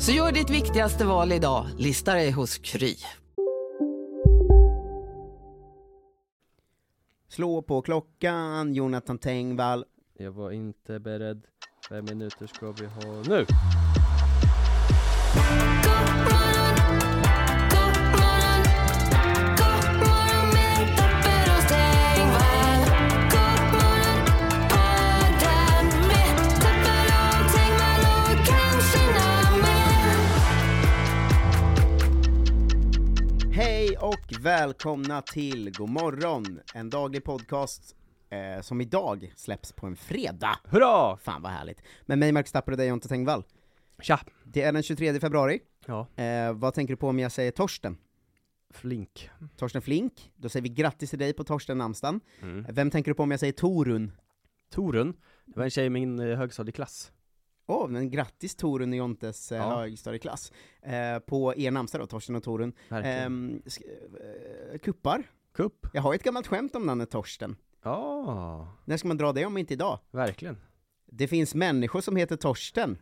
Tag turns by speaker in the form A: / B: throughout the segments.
A: Så gör ditt viktigaste val idag, listar dig hos Kry.
B: Slå på klockan, Jonathan Tengvall.
C: Jag var inte beredd. Fem minuter ska vi ha nu.
B: Hej och välkomna till God morgon, en daglig podcast eh, som idag släpps på en fredag.
C: Hurra!
B: Fan vad härligt. Med mig Marcus Tapper och dig Jonte Tengvall.
C: Tja!
B: Det är den 23 februari.
C: Ja,
B: Eh, vad tänker du på om jag säger Torsten?
C: flink.
B: Torsten Flink. Då säger vi grattis till dig på Torsten namnsdagen.
C: Mm.
B: Vem tänker du på om jag säger Torun?
C: Torun, det var en tjej i min eh, högstadieklass.
B: Åh, oh, men grattis Torun i Jontes eh,
C: Ja.
B: högstadieklass. Eh, på er namnsdag då, Torsten och Torun.
C: Verkligen.
B: Ehm, sk- eh, kuppar.
C: Kupp.
B: Jag har ett gammalt skämt om namnet Torsten.
C: Ja,
B: När ska man dra det om inte idag?
C: verkligen.
B: Det finns människor som heter Torsten.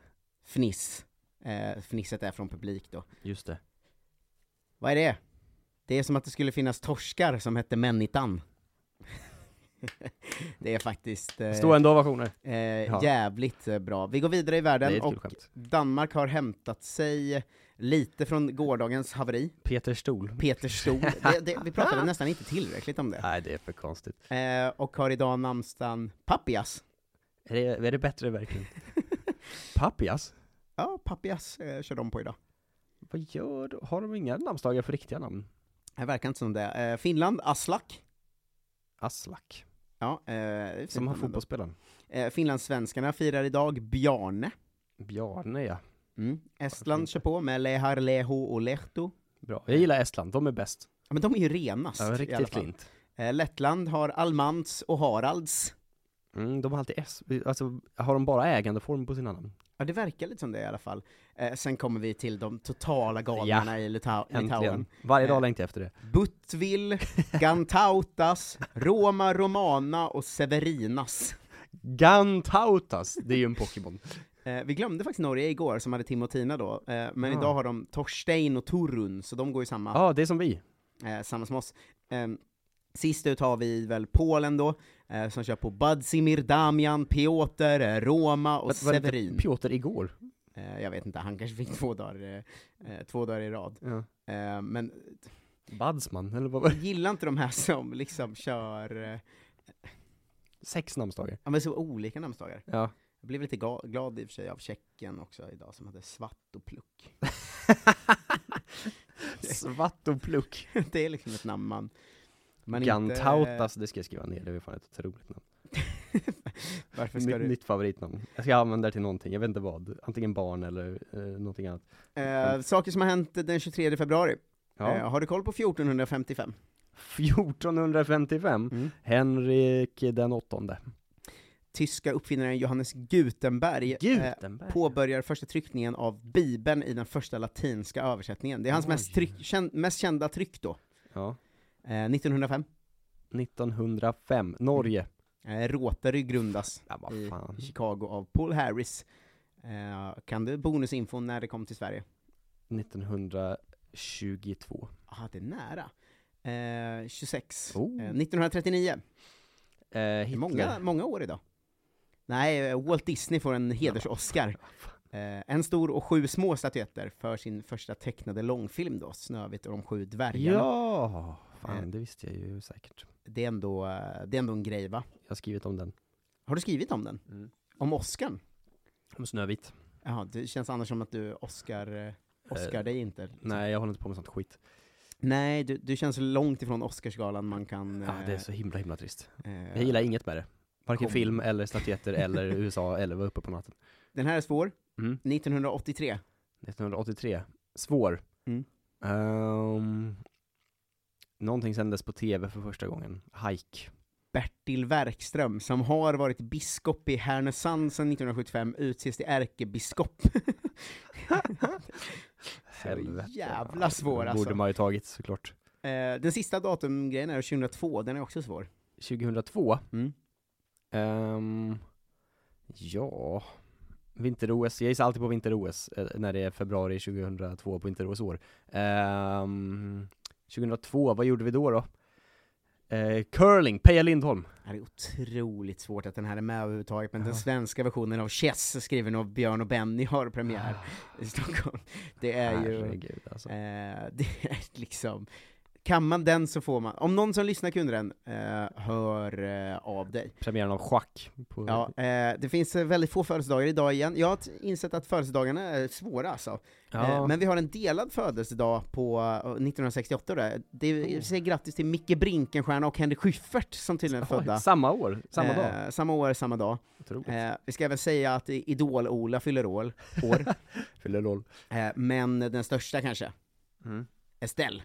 B: Fniss. Eh, fnisset är från publik då.
C: Just det.
B: Vad är det? Det är som att det skulle finnas torskar som hette Männitan. det är faktiskt eh,
C: Stående ovationer.
B: eh,
C: ja.
B: jävligt eh, bra. Vi går vidare i
C: Det är
B: världen
C: ett
B: och
C: kul skämt.
B: Danmark har hämtat sig lite från gårdagens haveri.
C: Peter Stol.
B: Peter Stol, det, det, vi pratade nästan inte tillräckligt om det.
C: Nej, det är för konstigt.
B: Eh, och har idag namnsdagen Papias.
C: Är det, är det bättre verkligen? Papias?
B: Ja, Papias eh, kör de på idag.
C: Vad gör du? Har de inga namnsdagar för riktiga namn?
B: Det verkar inte som det. Eh, Finland, Aslak.
C: Aslak.
B: Ja, eh, det är fint
C: Som
B: namn
C: har
B: ändå.
C: fotbollsspelaren.
B: Eh, Finlandssvenskarna firar idag Bjarne.
C: Bjarne ja.
B: Mm. Estland kör på med Lehar, Leho och Lehto.
C: Bra. Jag gillar Estland, de är bäst.
B: Ja, men de är ju renast
C: Ja,
B: i alla
C: riktigt
B: fall.
C: klint.
B: Eh, Lettland har Almans och Haralds.
C: Mm, de har alltid S. Alltså, har de bara ägandeform på sina namn?
B: Ja, det verkar lite som det i alla fall. Eh, sen kommer vi till de totala galningarna i Litau- Litauen.
C: Äntligen. Varje
B: Eh.
C: dag längtar jag efter det.
B: Butvil, Gantautas, Roma Romana och Severinas.
C: Gantautas, det är ju en Pokémon.
B: Eh, vi glömde faktiskt Norge igår, som hade Timotina då, eh, men
C: Ja.
B: idag har de Torstein och Torun, så de går ju samma
C: Ja, det är som vi.
B: eh, samma som oss. Eh, sist ut har vi väl Polen då, eh, som kör på Badzimir, Damian, Piotr, eh, Roma och
C: Var- var det inte
B: Severin.
C: Piotr igår.
B: Eh, jag vet inte, han kanske fick två dagar, eh, eh, två dagar i rad.
C: Ja.
B: Eh, men
C: Badsman, eller vad var det?
B: jag gillar inte de här som liksom kör, eh,
C: Sex namnsdagar.
B: ja men så olika namnsdagar.
C: Ja.
B: Jag blev lite ga- glad i och för sig av Tjeckien också idag, som hade svart och pluck.
C: Svart och pluck.
B: det är liksom ett namn man... man inte-
C: Gantautas, det ska jag skriva ner, det är fan ett otroligt namn.
B: Varför
C: Mitt,
B: ska du...
C: mitt favoritnamn. Jag ska använda det till någonting, jag vet inte vad. Antingen barn eller eh, någonting annat.
B: Eh, saker som har hänt den 23 februari.
C: Ja.
B: Eh, har du koll på 1455?
C: 1455,
B: Mm.
C: Henrik den
B: Eh,
C: åttonde.
B: Tyska uppfinnaren Johannes Gutenberg, Eh,
C: Gutenberg.
B: påbörjar första tryckningen av Bibeln i den första latinska översättningen. Det är hans
C: Oj.
B: mest, tryck, känd, mest kända tryck då.
C: Ja.
B: Eh, 1905.
C: 1905, Norge.
B: Eh, Rotary grundas
C: Ja, vad
B: i
C: fan.
B: Chicago av Paul Harris. Eh, kan du bonusinfo när det kom till Sverige?
C: 1922.
B: Ah, det är nära. Eh, 26.
C: Oh.
B: Eh, 1939.
C: Eh,
B: Det är
C: Hitler.
B: många, många år idag. Nej, eh, Walt Disney får en heders-Oscar. Eh, en stor och sju små statyetter för sin första tecknade långfilm då, Snövit och de sju dvärgarna.
C: Ja! Fan, det visste jag ju säkert.
B: Det är ändå, eh, det är ändå en grej va?
C: Jag har skrivit om den.
B: Har du skrivit om den?
C: Mm.
B: Om Oscarn?
C: Om Snövit.
B: Jaha, det känns annars som att du Oscar, eh, Oscar dig inte. liksom.
C: Nej, jag håller inte på med sånt skit.
B: Nej, du, du känns långt ifrån Oscarsgalan man kan...
C: Ja, Ah, det är
B: eh,
C: så himla, himla trist.
B: eh,
C: Jag gillar inget med det. Varken
B: Kom.
C: film eller statyetter eller USA eller vara uppe på natten.
B: Den här är svår.
C: Mm.
B: 1983.
C: 1983. Svår.
B: Mm.
C: Ehm, någonting sändes på tv för första gången. Hike.
B: Bertil Werkström, som har varit biskop i Härnösand sedan 1975, utses till ärkebiskop.
C: Helvete.
B: jävla svår,
C: Det
B: alltså.
C: Borde man ju tagit såklart.
B: Eh, den sista datumgrejen är 2002, den är också svår.
C: 2002.
B: Mm.
C: Ehm, ja. Vinter-OS. Jag gissar alltid på vinter-OS eh, när det är februari 2002 på vinter-OS år. Ehm, 2002, vad gjorde vi då då? Eh, curling, Peja Lindholm.
B: Det är otroligt svårt att den här är med överhuvudtaget, men den svenska versionen av Chess, skriven av Björn och Benny, har premiär i Stockholm. Det är ju...
C: Herregud alltså.
B: Eh, det är liksom... Kan man den så får man. Om någon som lyssnar kunde den, eh, hör eh, av dig.
C: Premiären av schack. På,
B: Ja, eh, det finns eh, väldigt få födelsedagar idag igen. Jag har t- insett att födelsedagarna är svåra alltså. Eh,
C: Ja.
B: men vi har en delad födelsedag på eh, 1968 där. Det
C: Oh.
B: är, säger grattis till Micke Brinkenstierna och Henrik Schyffert som tydligen är
C: Oj,
B: födda.
C: Samma år, samma dag.
B: Eh, samma år, samma dag.
C: Otroligt.
B: Eh, vi ska även säga att Idol-Ola fyller år, år.
C: Fyller roll.
B: eh, men den största kanske,
C: Mm.
B: Estelle,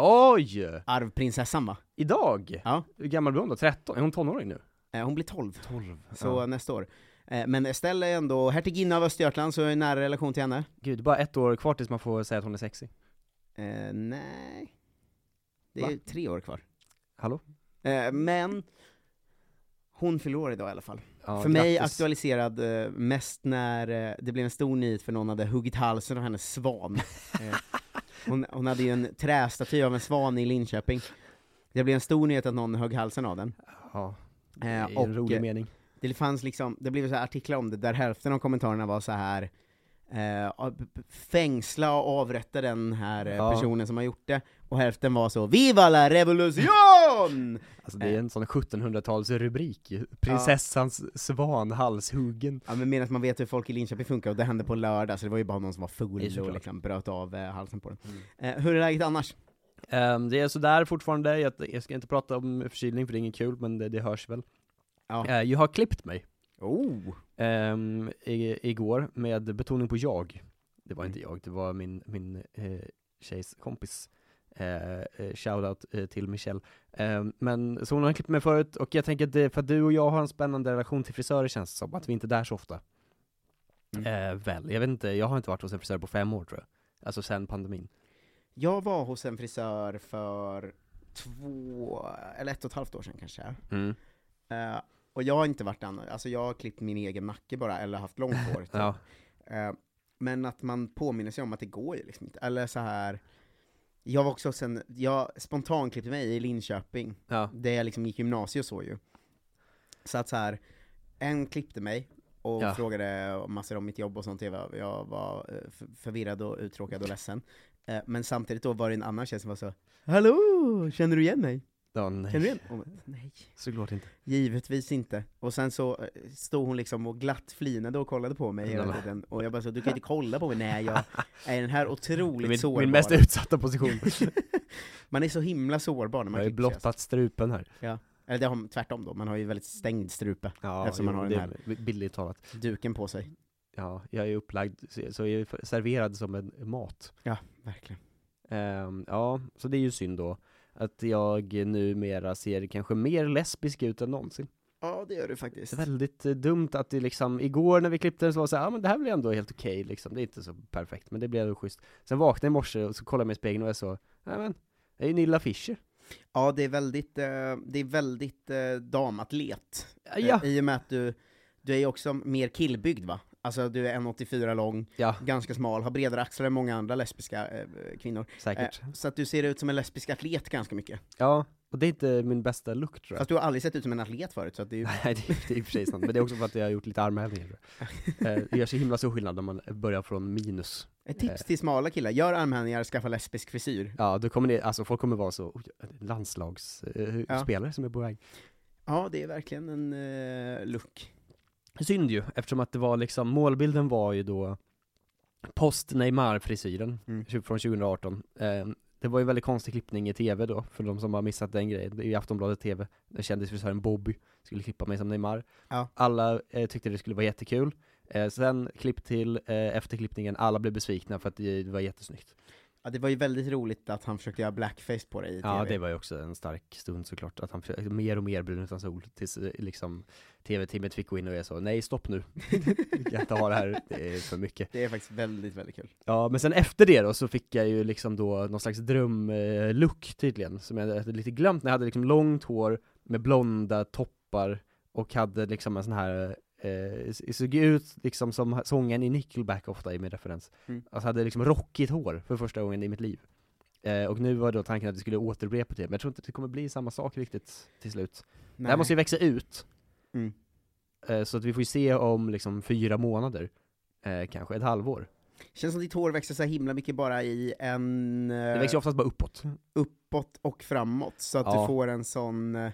C: Oj!
B: arvprinsessan va?
C: Idag?
B: Ja.
C: Hur gammal blir hon då? 13? Är hon tonåring nu?
B: Eh, hon blir 12,
C: 12.
B: så nästa år. Eh, men Estelle är ändå hertiginna av Östergötland, så jag är i nära relation till henne.
C: Gud, bara ett år kvar tills man får säga att hon är sexy.
B: Eh, nej. Det är
C: Va?
B: ju tre år kvar.
C: Hallå?
B: Eh, men, hon fyller år idag i alla fall.
C: Ja,
B: för mig
C: grattis.
B: aktualiserad eh, mest när eh, det blev en stor nyhet för någon hade huggit halsen av hennes svan. Eh, hon, hon hade ju en trästaty av en svan i Linköping. Det blev en stor nyhet att någon högg halsen av den.
C: Ja, det
B: Eh,
C: är
B: och,
C: en rolig
B: eh,
C: mening.
B: Det fanns liksom, det blev så här artiklar om det där hälften av kommentarerna var så här eh, ab- b- fängsla och avrätta den här eh,
C: Ja.
B: personen som har gjort det, och hälften var så 'Viva la revolution!'
C: Alltså det är en sån 1700-tals rubrik ju. Prinsessans svan halshuggen.
B: Ja men medan man vet hur folk i Linköping funkar, och det hände på lördag, så det var ju bara någon som var
C: Det är Mm.
B: full och
C: såklart.
B: liksom bröt av eh, halsen på den. Eh, hur är läget annars?
C: Ehm, det är sådär fortfarande, jag, jag ska inte prata om förkylning för det är inget kul, men det, det hörs väl.
B: Ja.
C: Eh, jag har klippt mig
B: Oh!
C: ehm, i, igår med betoning på jag. Det
B: Mm.
C: var inte jag, det var min, min eh, tjejs kompis. Eh, eh, shoutout eh, till Michelle. Ehm, men så hon har klippt mig förut och jag tänker att det, för att du och jag har en spännande relation till frisörer känns det som, att vi inte är där så ofta.
B: Mm.
C: Eh, väl, jag vet inte, jag har inte varit hos en frisör på fem år tror jag. Alltså sen pandemin.
B: Jag var hos en frisör för två, eller ett och ett halvt år sedan kanske. Eh, och jag har inte varit den, alltså jag har klippt min egen nacke bara, eller haft långt hår. typ.
C: Ja.
B: Eh, Men att man påminner sig om att det går ju liksom inte. Eller så här. Jag var också sen, jag spontanklippte mig i Linköping,
C: ja.
B: där jag liksom gick gymnasiet och så ju. Så att så här, en klippte mig och
C: Ja.
B: frågade om massor om mitt jobb och sånt, jag var, jag var eh, f- förvirrad och uttråkad och ledsen. Eh, Men samtidigt då var det en annan tjej som var så Hallå, känner du igen mig?
C: ja nej.
B: Känner du igen mig? Nej.
C: Såklart inte.
B: Givetvis inte. Och sen så eh, stod hon liksom och glatt flinade och kollade på mig hela
C: Nej,
B: tiden, och jag bara så du kan inte kolla på mig när jag är i den här otroligt
C: Min,
B: sårbar.
C: min mest utsatta position.
B: Man är så himla sårbar när man
C: jag har ju
B: klipper sig, alltså.
C: blottat strupen här.
B: Eller det har man tvärtom då, man har ju väldigt stängd strupe,
C: Ja,
B: Eftersom man har
C: det
B: den
C: är Bildligt talat.
B: duken på sig.
C: Ja, jag är upplagd, så- så jag är f- serverad som en mat.
B: Ja, verkligen.
C: Ehm, ja, så det är ju synd då. Att jag numera ser kanske mer lesbisk ut än någonsin.
B: Ja det gör du faktiskt.
C: Det är väldigt eh, dumt att det liksom, igår när vi klippte den så var det såhär, ja men det här blir ändå helt okej liksom, det är inte så perfekt, men det blir ändå schysst. Sen vaknade jag i morse och så kollade jag mig i spegeln och jag så, nej men, det är ju Nilla Fischer.
B: Ja det är väldigt, eh, det är väldigt eh, damatlet. Eh,
C: Ja,
B: I och med att du, du är ju också mer killbyggd va? Alltså du är 1,84 lång,
C: ja,
B: ganska smal, har bredare axlar än många andra lesbiska eh, kvinnor.
C: säkert.
B: Eh, Så att du ser ut som en lesbisk atlet ganska mycket.
C: Ja, Och det är inte min bästa look tror jag.
B: Fast du har aldrig sett ut som en atlet förut, så att det är ju...
C: Nej, det är, det är i och för sig sant. Men det är också för att jag har gjort lite armhävningar. tror jag. Eh, Det gör så himla stor skillnad om man börjar från minus.
B: Ett tips till smala killar, gör armhävningar, skaffa lesbisk frisyr.
C: Ja, då kommer det, alltså folk kommer vara så, landslagsspelare
B: Ja.
C: spelare som är på väg.
B: Ja, det är verkligen en eh, look.
C: Synd ju, eftersom att det var liksom, målbilden var ju då post-Neymar-frisyren
B: Mm.
C: typ från 2018. Eh, Det var ju väldigt konstig klippning i tv då, för de som har missat den grejen. I Aftonbladet TV, där kändisfrisören Bobby skulle klippa mig som Neymar.
B: Ja.
C: Alla eh, tyckte det skulle vara jättekul. Eh, sen klipp till, eh, efter klippningen, alla blev besvikna för att det, det var jättesnyggt.
B: Ja, det var ju väldigt roligt att han försökte göra blackface på dig i
C: Ja,
B: TV.
C: det var ju också en stark stund såklart, att han försökte, mer och mer brun utan sol, tills eh, liksom tv-teamet fick gå in och är så, nej stopp nu, vi kan inte ha det här, det är för mycket.
B: Det är faktiskt väldigt, väldigt kul.
C: Ja, men sen efter det då så fick jag ju liksom då någon slags drömlook tydligen, som jag hade lite glömt, när jag hade liksom långt hår med blonda toppar och hade liksom en sån här Eh, s- såg ut liksom som sången i Nickelback ofta i min referens.
B: Mm.
C: Alltså hade liksom rockigt hår för första gången i mitt liv. Eh, och nu var då tanken att vi skulle återupprepa det, men jag tror inte att det kommer bli samma sak riktigt till slut. Det här måste ju växa ut,
B: Mm.
C: eh, så att vi får ju se om liksom fyra månader, eh, kanske ett halvår.
B: Känns som ditt hår växer så här himla mycket bara i en... eh,
C: Det växer ju oftast bara uppåt.
B: uppåt och framåt, så att
C: Ja.
B: du får en sån eh,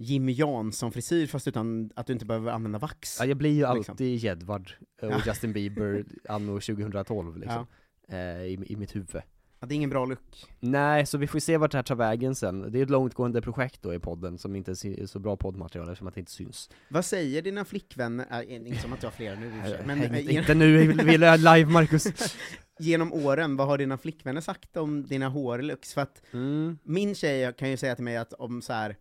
B: Jimmy Jansson-frisyr fast utan att du inte behöver använda vax.
C: Ja, jag blir ju
B: Liksom.
C: alltid Jedward eh, och
B: Ja.
C: Justin Bieber anno 2012 liksom, eh, i, i mitt huvud.
B: Ja, det är ingen bra look.
C: Nej, så vi får se vart det här tar vägen sen. Det är ett långtgående projekt då i podden som inte är så bra poddmaterial eftersom att det inte syns.
B: Vad säger dina flickvänner, äh, inte som att jag har flera nu i och för sig, men
C: Häng,
B: eh,
C: inte,
B: gen-
C: inte nu, vi- vi är live Marcus!
B: genom åren, vad har dina flickvänner sagt om dina hårlooks? För att
C: Mm.
B: min tjej kan ju säga till mig att om så här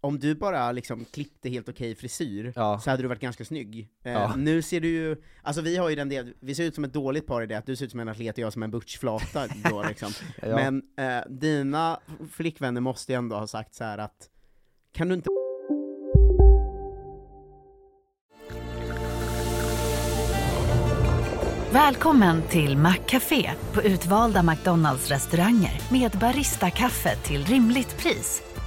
B: om du bara liksom klippte helt okej frisyr,
C: Ja.
B: så hade du varit ganska snygg. Eh,
C: Ja.
B: Nu ser du ju, alltså vi har ju den del, vi ser ut som ett dåligt par i det att du ser ut som en atlet och jag som en butchflata då liksom.
C: Ja.
B: Men eh, dina flickvänner måste ju ändå ha sagt så här att, kan du inte
D: Välkommen till Maccafé på utvalda McDonalds restauranger med Baristakaffe till rimligt pris.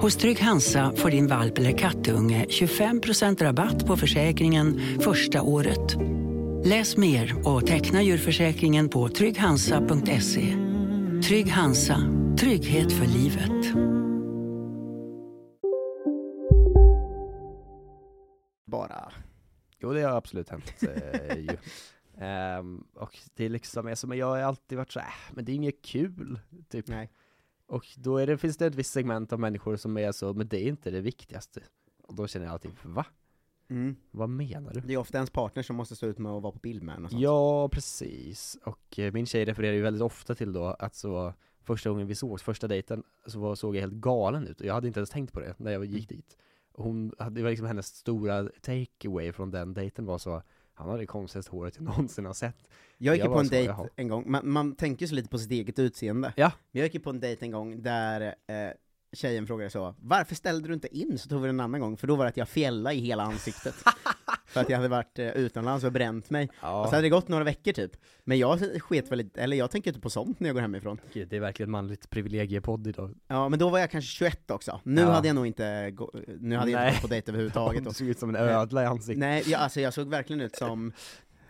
E: Hos Trygg Hansa får din valp eller kattunge 25% rabatt på försäkringen första året. Läs mer och teckna djurförsäkringen på trygghansa.se. Trygg Hansa, trygghet för livet.
B: bara...
C: Jo, det har absolut hänt eh, ju. Ehm, och det är liksom, alltså, men jag har alltid varit så här, "Äh, men det är inget kul, typ.
B: Nej.
C: Och då är det, finns det ett visst segment av människor som är så, men det är inte det viktigaste. Och då känner jag alltid, va?
B: Mm.
C: Vad menar du?
B: Det är ofta ens partner som måste stå ut med att vara på bild med en och sånt.
C: Ja, precis. Och eh, min tjej refererar ju väldigt ofta till då att så första gången vi sågs, första dejten, så var, såg jag helt galen ut. Och jag hade inte ens tänkt på det när jag gick dit. Och Hon, hade- det var liksom hennes stora takeaway från den dejten var så, han har det konstigaste håret jag någonsin har sett.
B: Jag gick
C: Jag
B: ju på
C: var
B: en
C: så,
B: dejt
C: jaha.
B: en gång, man, man tänker ju så lite på sitt eget utseende.
C: Ja.
B: Men jag gick ju på en dejt en gång där eh, tjejen frågade så, varför ställde du inte in? Så tog vi det en annan gång, för då var det att jag fjällade i hela ansiktet. för att jag hade varit eh, utomlands och bränt mig.
C: Ja.
B: Och så hade det gått några veckor typ. Men jag sket väl eller jag tänker inte på sånt när jag går hemifrån.
C: Gud, det är verkligen manligt privilegiepodd idag.
B: Ja, men då var jag kanske 21 också. Nu
C: Ja.
B: hade jag nog inte, gå- nu hade jag
C: Nej.
B: inte gått på dejt överhuvudtaget.
C: Du såg ut som en ödla i ansiktet.
B: Nej, jag, alltså jag såg verkligen ut som,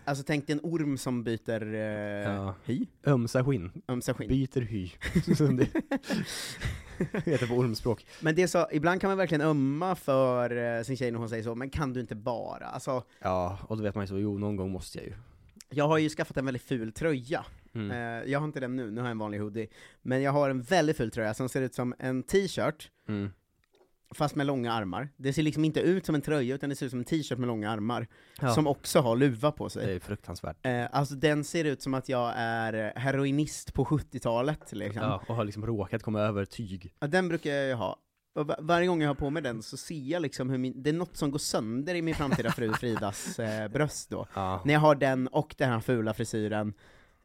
B: alltså tänk dig en orm som byter eh,
C: Ja.
B: hy,
C: Ömsa skinn,
B: ömsa skinn.
C: byter hy. Som det heter på ormspråk.
B: Men det är så, ibland kan man verkligen ömma för eh, sin tjej när hon säger så, men kan du inte bara? Alltså,
C: Ja, och då vet man ju så, jo någon gång måste jag ju.
B: jag har ju skaffat en väldigt ful tröja.
C: Mm.
B: Eh, jag har inte den nu, nu har jag en vanlig hoodie. Men jag har en väldigt ful tröja som ser ut som en t-shirt,
C: Mm.
B: fast med långa armar. Det ser liksom inte ut som en tröja, utan det ser ut som en t-shirt med långa armar,
C: Ja.
B: som också har luva på sig.
C: Det är fruktansvärt.
B: Eh, alltså den ser ut som att jag är heroinist på 70-talet liksom.
C: Ja, och har liksom råkat komma över tyg.
B: Ja, den brukar jag ju ha. Och va- varje gång jag har på mig den så ser jag liksom hur min, det är något som går sönder i min framtida fru Fridas eh, bröst då.
C: Ja.
B: När jag har den och den här fula frisyren,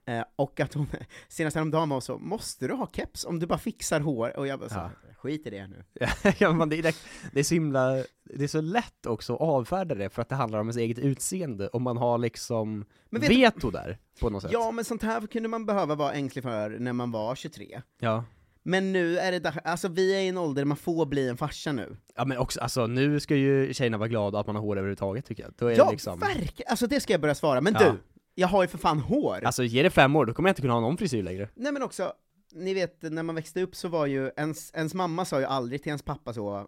B: eh, och att hon, senast häromdagen var hon så, måste du ha keps om du bara fixar hår? Och jag bara så, skit i det nu.
C: ja, men det, är, det är så himla, det är så lätt också att avfärda det för att det handlar om ens eget utseende, om man har liksom
B: Men vet du-
C: veto där på något sätt.
B: Ja men sånt här kunde man behöva vara ängslig för när man var 23.
C: ja.
B: Men nu är det dags, alltså vi är i en ålder där man får bli en farsa nu.
C: Ja, men också, alltså nu ska ju tjejerna vara glada att man har hår överhuvudtaget tycker jag. Då är
B: Ja,
C: det liksom,
B: verkligen! Alltså det ska jag börja svara, men
C: Ja.
B: du! Jag har ju för fan hår!
C: alltså ge det fem år, då kommer jag inte kunna ha någon frisyr längre.
B: Nej men också, ni vet när man växte upp så var ju, ens, ens mamma sa ju aldrig till ens pappa så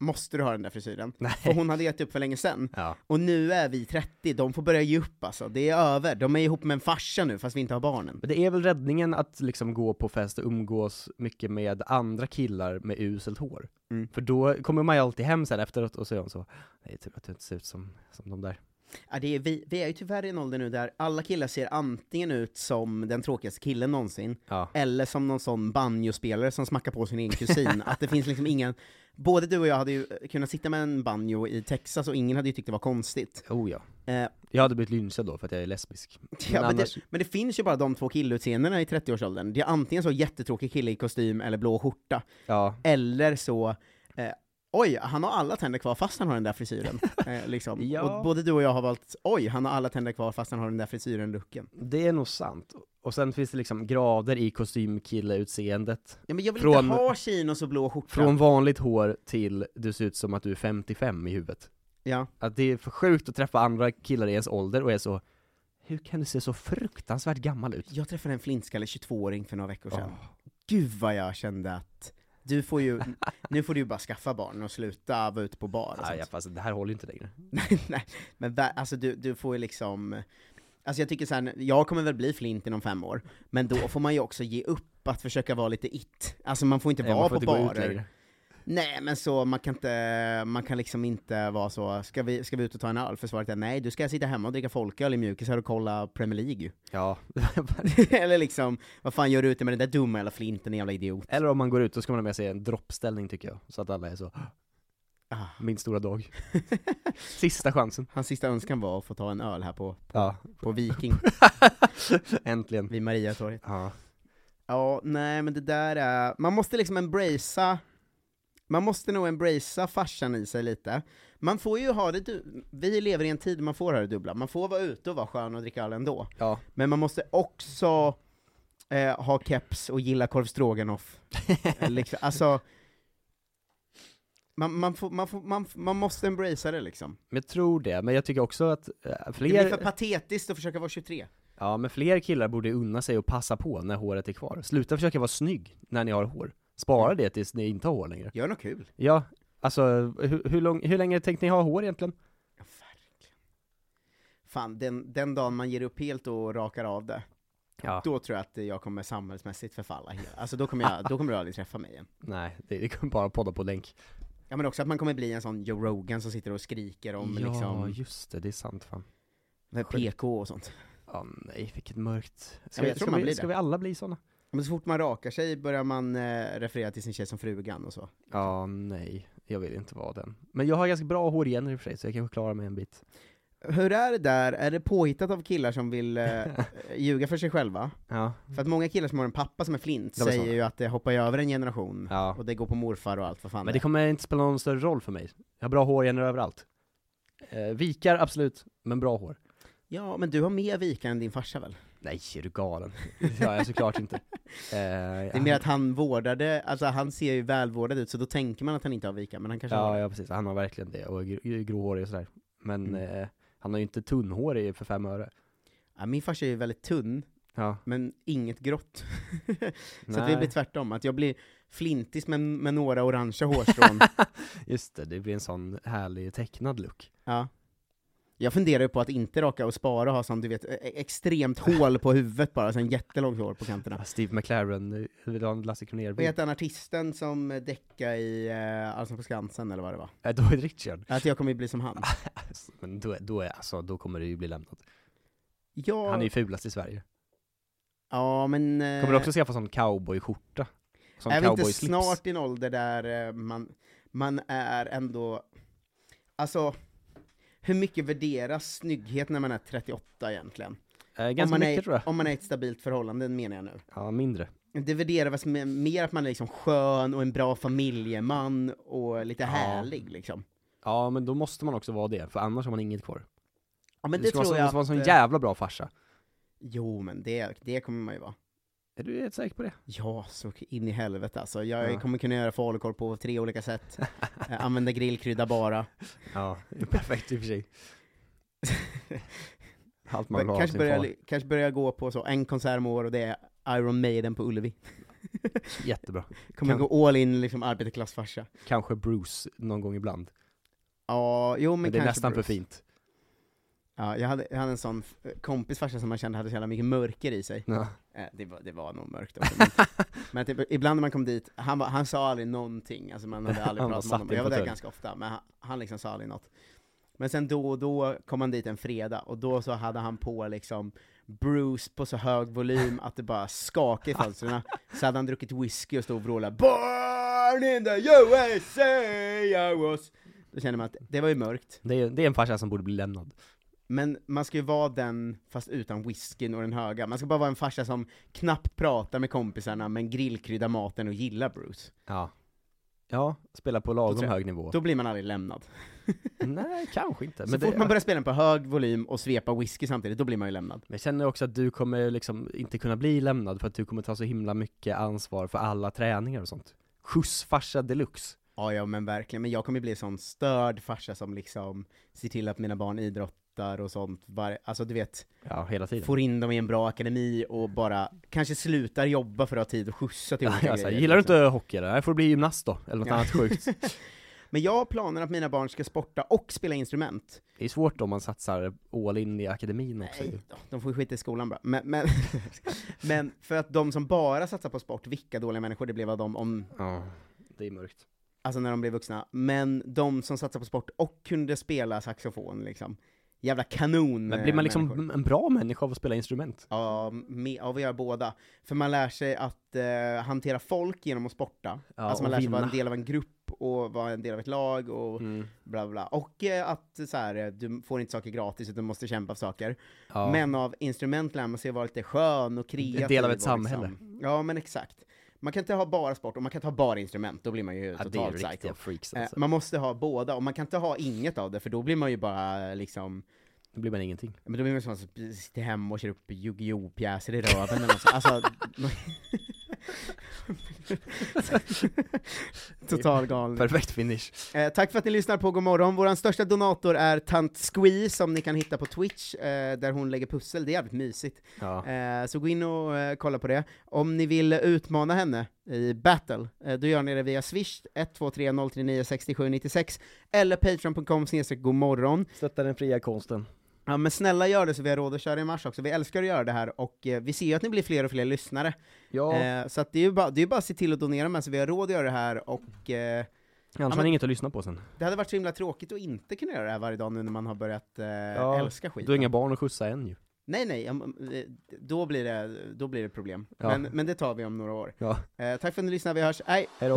B: Måste du ha den där frisyren? För hon hade gett upp för länge sedan.
C: Ja.
B: Och nu är vi 30, de får börja ge upp alltså. Det är över. De är ihop med en farsa nu fast vi inte har barnen.
C: Men det är väl räddningen att liksom gå på fest och umgås mycket med andra killar med uselt hår.
B: Mm.
C: För då kommer man ju alltid hem sen efteråt och så är de så, nej tur att du inte ser ut som, som de där.
B: Ja, det är, vi, vi är ju tyvärr i en ålder nu där alla killar ser antingen ut som den tråkigaste killen någonsin,
C: Ja.
B: eller som någon sån banjospelare som smackar på sin egen kusin. att det finns liksom ingen... Både du och jag hade ju kunnat sitta med en banjo i Texas och ingen hade ju tyckt det var konstigt.
C: Oh ja.
B: Eh,
C: Jag hade blivit lynchad då för att jag är lesbisk.
B: Ja, men,
C: annars-
B: det, men det finns ju bara de två killutseendena i 30-årsåldern. Det är antingen så jättetråkig kille i kostym eller blå skjorta,
C: Ja.
B: eller så eh, Oj, han har alla tänder kvar fast han har den där frisyren. Eh, liksom.
C: Ja.
B: och både du och jag har valt, oj, han har alla tänder kvar fast han har den där frisyren-looken.
C: Det är nog sant. Och sen finns det liksom grader i kostymkille-utseendet.
B: Ja, men jag vill
C: Från-
B: inte ha chinos och blå skjorta.
C: Från vanligt hår till du ser ut som att du är 55 i huvudet.
B: Ja.
C: Att det är för sjukt att träffa andra killar i ens ålder och är så, hur kan du se så fruktansvärt gammal ut?
B: Jag träffade en flintskallig 22-åring för några veckor sedan.
C: Åh.
B: Gud vad jag kände att, du får ju, nu får du ju bara skaffa barn och sluta vara ute på bar. och
C: Nej,
B: sånt.
C: ja, fast det här håller ju inte längre.
B: Nej, men vä- alltså du, du får ju liksom, alltså jag tycker såhär, jag kommer väl bli flint inom fem år, men då får man ju också ge upp att försöka vara lite it. Alltså man får inte
C: Nej, man
B: vara
C: får
B: på
C: inte typ gå ut
B: barer.
C: längre.
B: Nej men så, man kan inte, man kan liksom inte vara så, ska vi, ska vi ut och ta en öl? För svaret är nej, du ska sitta hemma och dricka folköl i mjukisar och kolla Premier League ju.
C: Ja.
B: Eller liksom, vad fan gör du ute med den där dumma jävla flinten, jävla idiot?
C: Eller om man går ut, då ska man ha med sig en droppställning tycker jag. Så att alla är så,
B: Ah.
C: min stora dag. Sista chansen.
B: Hans sista önskan var att få ta en öl här på,
C: Ja.
B: på Viking,
C: Äntligen.
B: vid Mariatorget.
C: Ja.
B: Ja, nej men det där är, man måste liksom embracea, man måste nog embracea farsan i sig lite. Man får ju ha det, du- vi lever i en tid där man får ha det dubbla, man får vara ute och vara skön och dricka öl ändå.
C: Ja.
B: Men man måste också eh, ha keps och gilla korv stroganoff. Eh, liksom, alltså, man, man, får, man, får, man, f- man måste embracea det liksom.
C: Men jag tror det, men jag tycker också att eh,
B: Det blir för
C: fler,
B: patetiskt att försöka vara 23.
C: ja, men fler killar borde unna sig och passa på när håret är kvar. Sluta försöka vara snygg när ni har hår. Spara det tills ni inte har hår längre.
B: Gör något kul.
C: Ja, alltså hur, hur, lång, hur länge tänkte ni ha hår egentligen?
B: Ja, verkligen. Fan, den, den dagen man ger upp helt och rakar av det,
C: Ja.
B: då tror jag att jag kommer samhällsmässigt förfalla helt. Alltså då kommer, jag, då kommer du aldrig träffa mig igen.
C: Nej, det, det kommer bara podda på länk.
B: Ja men också att man kommer bli en sån Joe Rogan som sitter och skriker om
C: ja,
B: liksom
C: just det, det är sant fan.
B: med PK och sånt.
C: Ja, nej, vilket mörkt.
B: Ja, men
C: vi-
B: jag tror
C: ska,
B: man
C: vi,
B: blir
C: ska
B: det.
C: vi alla bli såna?
B: Men så fort man rakar sig börjar man eh, referera till sin tjej som frugan och så.
C: Ja, nej, jag vill inte vara den. Men jag har ganska bra hår igen i och för sig, så jag kanske klarar mig en bit.
B: Hur är det där, är det påhittat av killar som vill eh, ljuga för sig själva?
C: Ja,
B: För att många killar som har en pappa som är flint
C: De är
B: säger
C: såna.
B: ju att det hoppar ju över en generation,
C: ja.
B: och det går på morfar och allt vad fan det
C: Men det kommer inte spela någon större roll för mig. Jag har bra hår igen överallt. Eh, vikar, absolut, men bra hår.
B: Ja, men du har mer vikar än din farsa väl?
C: Nej, är du galen? Det gör jag såklart inte. Eh,
B: Det är mer att han vårdade, alltså han ser ju välvårdad ut så då tänker man att han inte har vika, men han kanske har
C: Ja,
B: det.
C: ja precis. Han har verkligen det, och gr- gr- gråhårig och sådär. Men
B: Mm.
C: eh, han har ju inte tunnhårig för fem öre.
B: ja, Min farsa är ju väldigt tunn,
C: Ja.
B: men inget grått. så att det blir tvärtom, att jag blir flintis med, med några orangea hårstrån.
C: Just det, det blir en sån härlig tecknad look.
B: ja. Jag funderar ju på att inte raka och spara och ha som du vet, e- extremt hål på huvudet bara, sen jättelångt hår på kanterna.
C: Steve McLaren, eh, vill du ha en Lasse
B: Vad
C: Kronér-bild?
B: heter han artisten som däckade i eh, Allsång på Skansen eller vad det var?
C: Eh, Då är Richard.
B: Att jag kommer ju bli som han.
C: Alltså, Men då, är- då, är, alltså, då kommer det ju bli lämnat.
B: Ja,
C: Han är ju fulast i Sverige.
B: ja men... eh,
C: Kommer du också skaffa sån cowboyskjorta? Som
B: är vi inte
C: cowboyslips.
B: snart i en ålder där eh, man, man är ändå, alltså, hur mycket värderas snygghet när man är 38 egentligen?
C: Eh,
B: Om
C: ganska
B: man,
C: mycket
B: är,
C: tror jag.
B: om man är i ett stabilt förhållande menar jag nu.
C: Ja, mindre.
B: Det värderas med, mer att man är liksom skön och en bra familjeman och lite härlig liksom.
C: Ja, men då måste man också vara det, för annars har man inget kvar.
B: Ja men
C: du
B: det
C: ska vara,
B: tror
C: så-
B: jag
C: måste vara en sån
B: att, eh,
C: jävla bra farsa.
B: Jo men det, det kommer man ju vara.
C: Är du helt säker på det?
B: Ja, så in i helvete alltså. Jag
C: Ja.
B: kommer kunna göra falukorv på tre olika sätt. Eh, Använda grillkrydda bara.
C: Ja, det är perfekt i och för sig. Allt man vill ha av
B: kanske,
C: sin
B: börja,
C: far.
B: kanske börja gå på så en konsert om år och det är Iron Maiden på Ullevi.
C: Jättebra.
B: Kommer
C: Kan-
B: gå all in liksom arbetarklassfarsa.
C: Kanske Bruce någon gång ibland.
B: Ja, jo men,
C: Men, det är
B: kanske
C: nästan
B: Bruce.
C: för fint.
B: Ja, jag hade, jag hade en sån f- kompis farsa som man kände hade så jävla mycket mörker i sig.
C: Ja.
B: Eh, det, var, det var nog mörkt också. Men, men typ, ibland när man kom dit, han, var, han sa aldrig någonting, alltså man hade aldrig
C: Han
B: pratat
C: bara
B: med honom.
C: satt i en
B: Jag var där
C: fåtölj.
B: ganska ofta, men han, han liksom sa aldrig något. Men sen då och då kom han dit en fredag, och då så hade han på liksom Bruce på så hög volym att det bara skakade i fönstren. Så hade han druckit whisky och stod och vrålade 'Born in the USA I was' Då känner man att det var ju mörkt.
C: Det, är, det är en farsa som borde bli lämnad.
B: Men man ska ju vara den, fast utan whiskyn och den höga. Man ska bara vara en farsa som knappt pratar med kompisarna, men grillkryddar maten och gillar Bruce.
C: Ja. Ja, spela på
B: Då
C: lagom
B: tror jag-
C: hög nivå.
B: Då blir man aldrig lämnad.
C: Nej, kanske inte.
B: Så
C: Men,
B: fort
C: det,
B: man börjar spela den på hög volym och svepa whisky samtidigt, då blir man ju lämnad.
C: men jag känner också att du kommer liksom inte kunna bli lämnad för att du kommer ta så himla mycket ansvar för alla träningar och sånt. Skjutsfarsa deluxe.
B: Ja, ja men verkligen. Men jag kommer bli en sån störd farsa som liksom ser till att mina barn idrottar och sånt. Var, alltså du vet,
C: Ja, hela tiden.
B: får in dem i en bra akademi och bara kanske slutar jobba för att ha tid att skjutsa till
C: Ja,
B: olika
C: jag
B: grejer.
C: säger, gillar du
B: liksom.
C: inte hockey eller? Nej, får du bli gymnast då, eller något
B: Ja.
C: annat sjukt.
B: Men jag har planer att mina barn ska sporta och spela instrument.
C: Det är svårt om man satsar all in i akademin också.
B: Nej då, de får ju skita i skolan bara. Men, men, men för att de som bara satsar på sport, vilka dåliga människor det blev av dem om,
C: Ja, det är mörkt.
B: alltså när de blev vuxna. Men de som satsar på sport och kunde spela saxofon liksom. Jävla kanon
C: Men blir man
B: eh,
C: liksom
B: människor.
C: en bra människa av att spela instrument?
B: Ja, me, ja, vi gör båda. För man lär sig att eh, hantera folk genom att sporta.
C: Ja,
B: alltså man
C: och
B: lär sig vara en
C: vinna. Mm.
B: del av en grupp och vara en del av ett lag och bla bla. Och eh, att så här, eh, du får inte saker gratis utan du måste kämpa för saker.
C: Ja.
B: Men av instrument lär man sig vara lite skön och kreativ.
C: En del av ett
B: och
C: samhälle.
B: Liksom. Ja, men exakt. Man kan inte ha bara sport och man kan inte ha bara instrument, då blir man ju
C: ja, det är
B: totalt
C: riktiga
B: psycho.
C: freaks
B: Eh,
C: alltså.
B: Man måste ha båda, och man kan inte ha inget av det, för då blir man ju bara liksom,
C: Då blir man ingenting.
B: men då blir man sån som sitter hemma och kör upp Yu-Gi-Oh! pjäser i röven eller något sånt. Alltså, Total galning.
C: Perfekt finish.
B: Eh, tack för att ni lyssnar på Godmorgon. Vår största donator är Tant Squee som ni kan hitta på Twitch, eh, där hon lägger pussel. Det är jävligt mysigt.
C: Ja.
B: Eh, så gå in och eh, kolla på det. Om ni vill utmana henne i battle, eh, då gör ni det via swish 123 039 67 96 eller patreon.com snedstreck godmorgon.
C: Stötta den fria konsten.
B: Ja men snälla gör det så vi har råd att köra i mars också. Vi älskar att göra det här och eh, vi ser ju att ni blir fler och fler lyssnare.
C: Ja,
B: Eh, så att det är ju bara, det är ju bara att se till att donera med så vi har råd att göra det här och eh,
C: annars har
B: men-
C: ni inget att lyssna på sen.
B: Det hade varit så himla tråkigt att inte kunna göra det här varje dag nu när man har börjat eh, älska skiten.
C: Du har inga barn att skjutsa än ju.
B: Nej nej, om- eh, då blir det, då blir det problem.
C: Ja.
B: Men, men det tar vi om några år.
C: Ja.
B: Eh, tack för att ni lyssnade, vi hörs, hej!
C: Hejdå.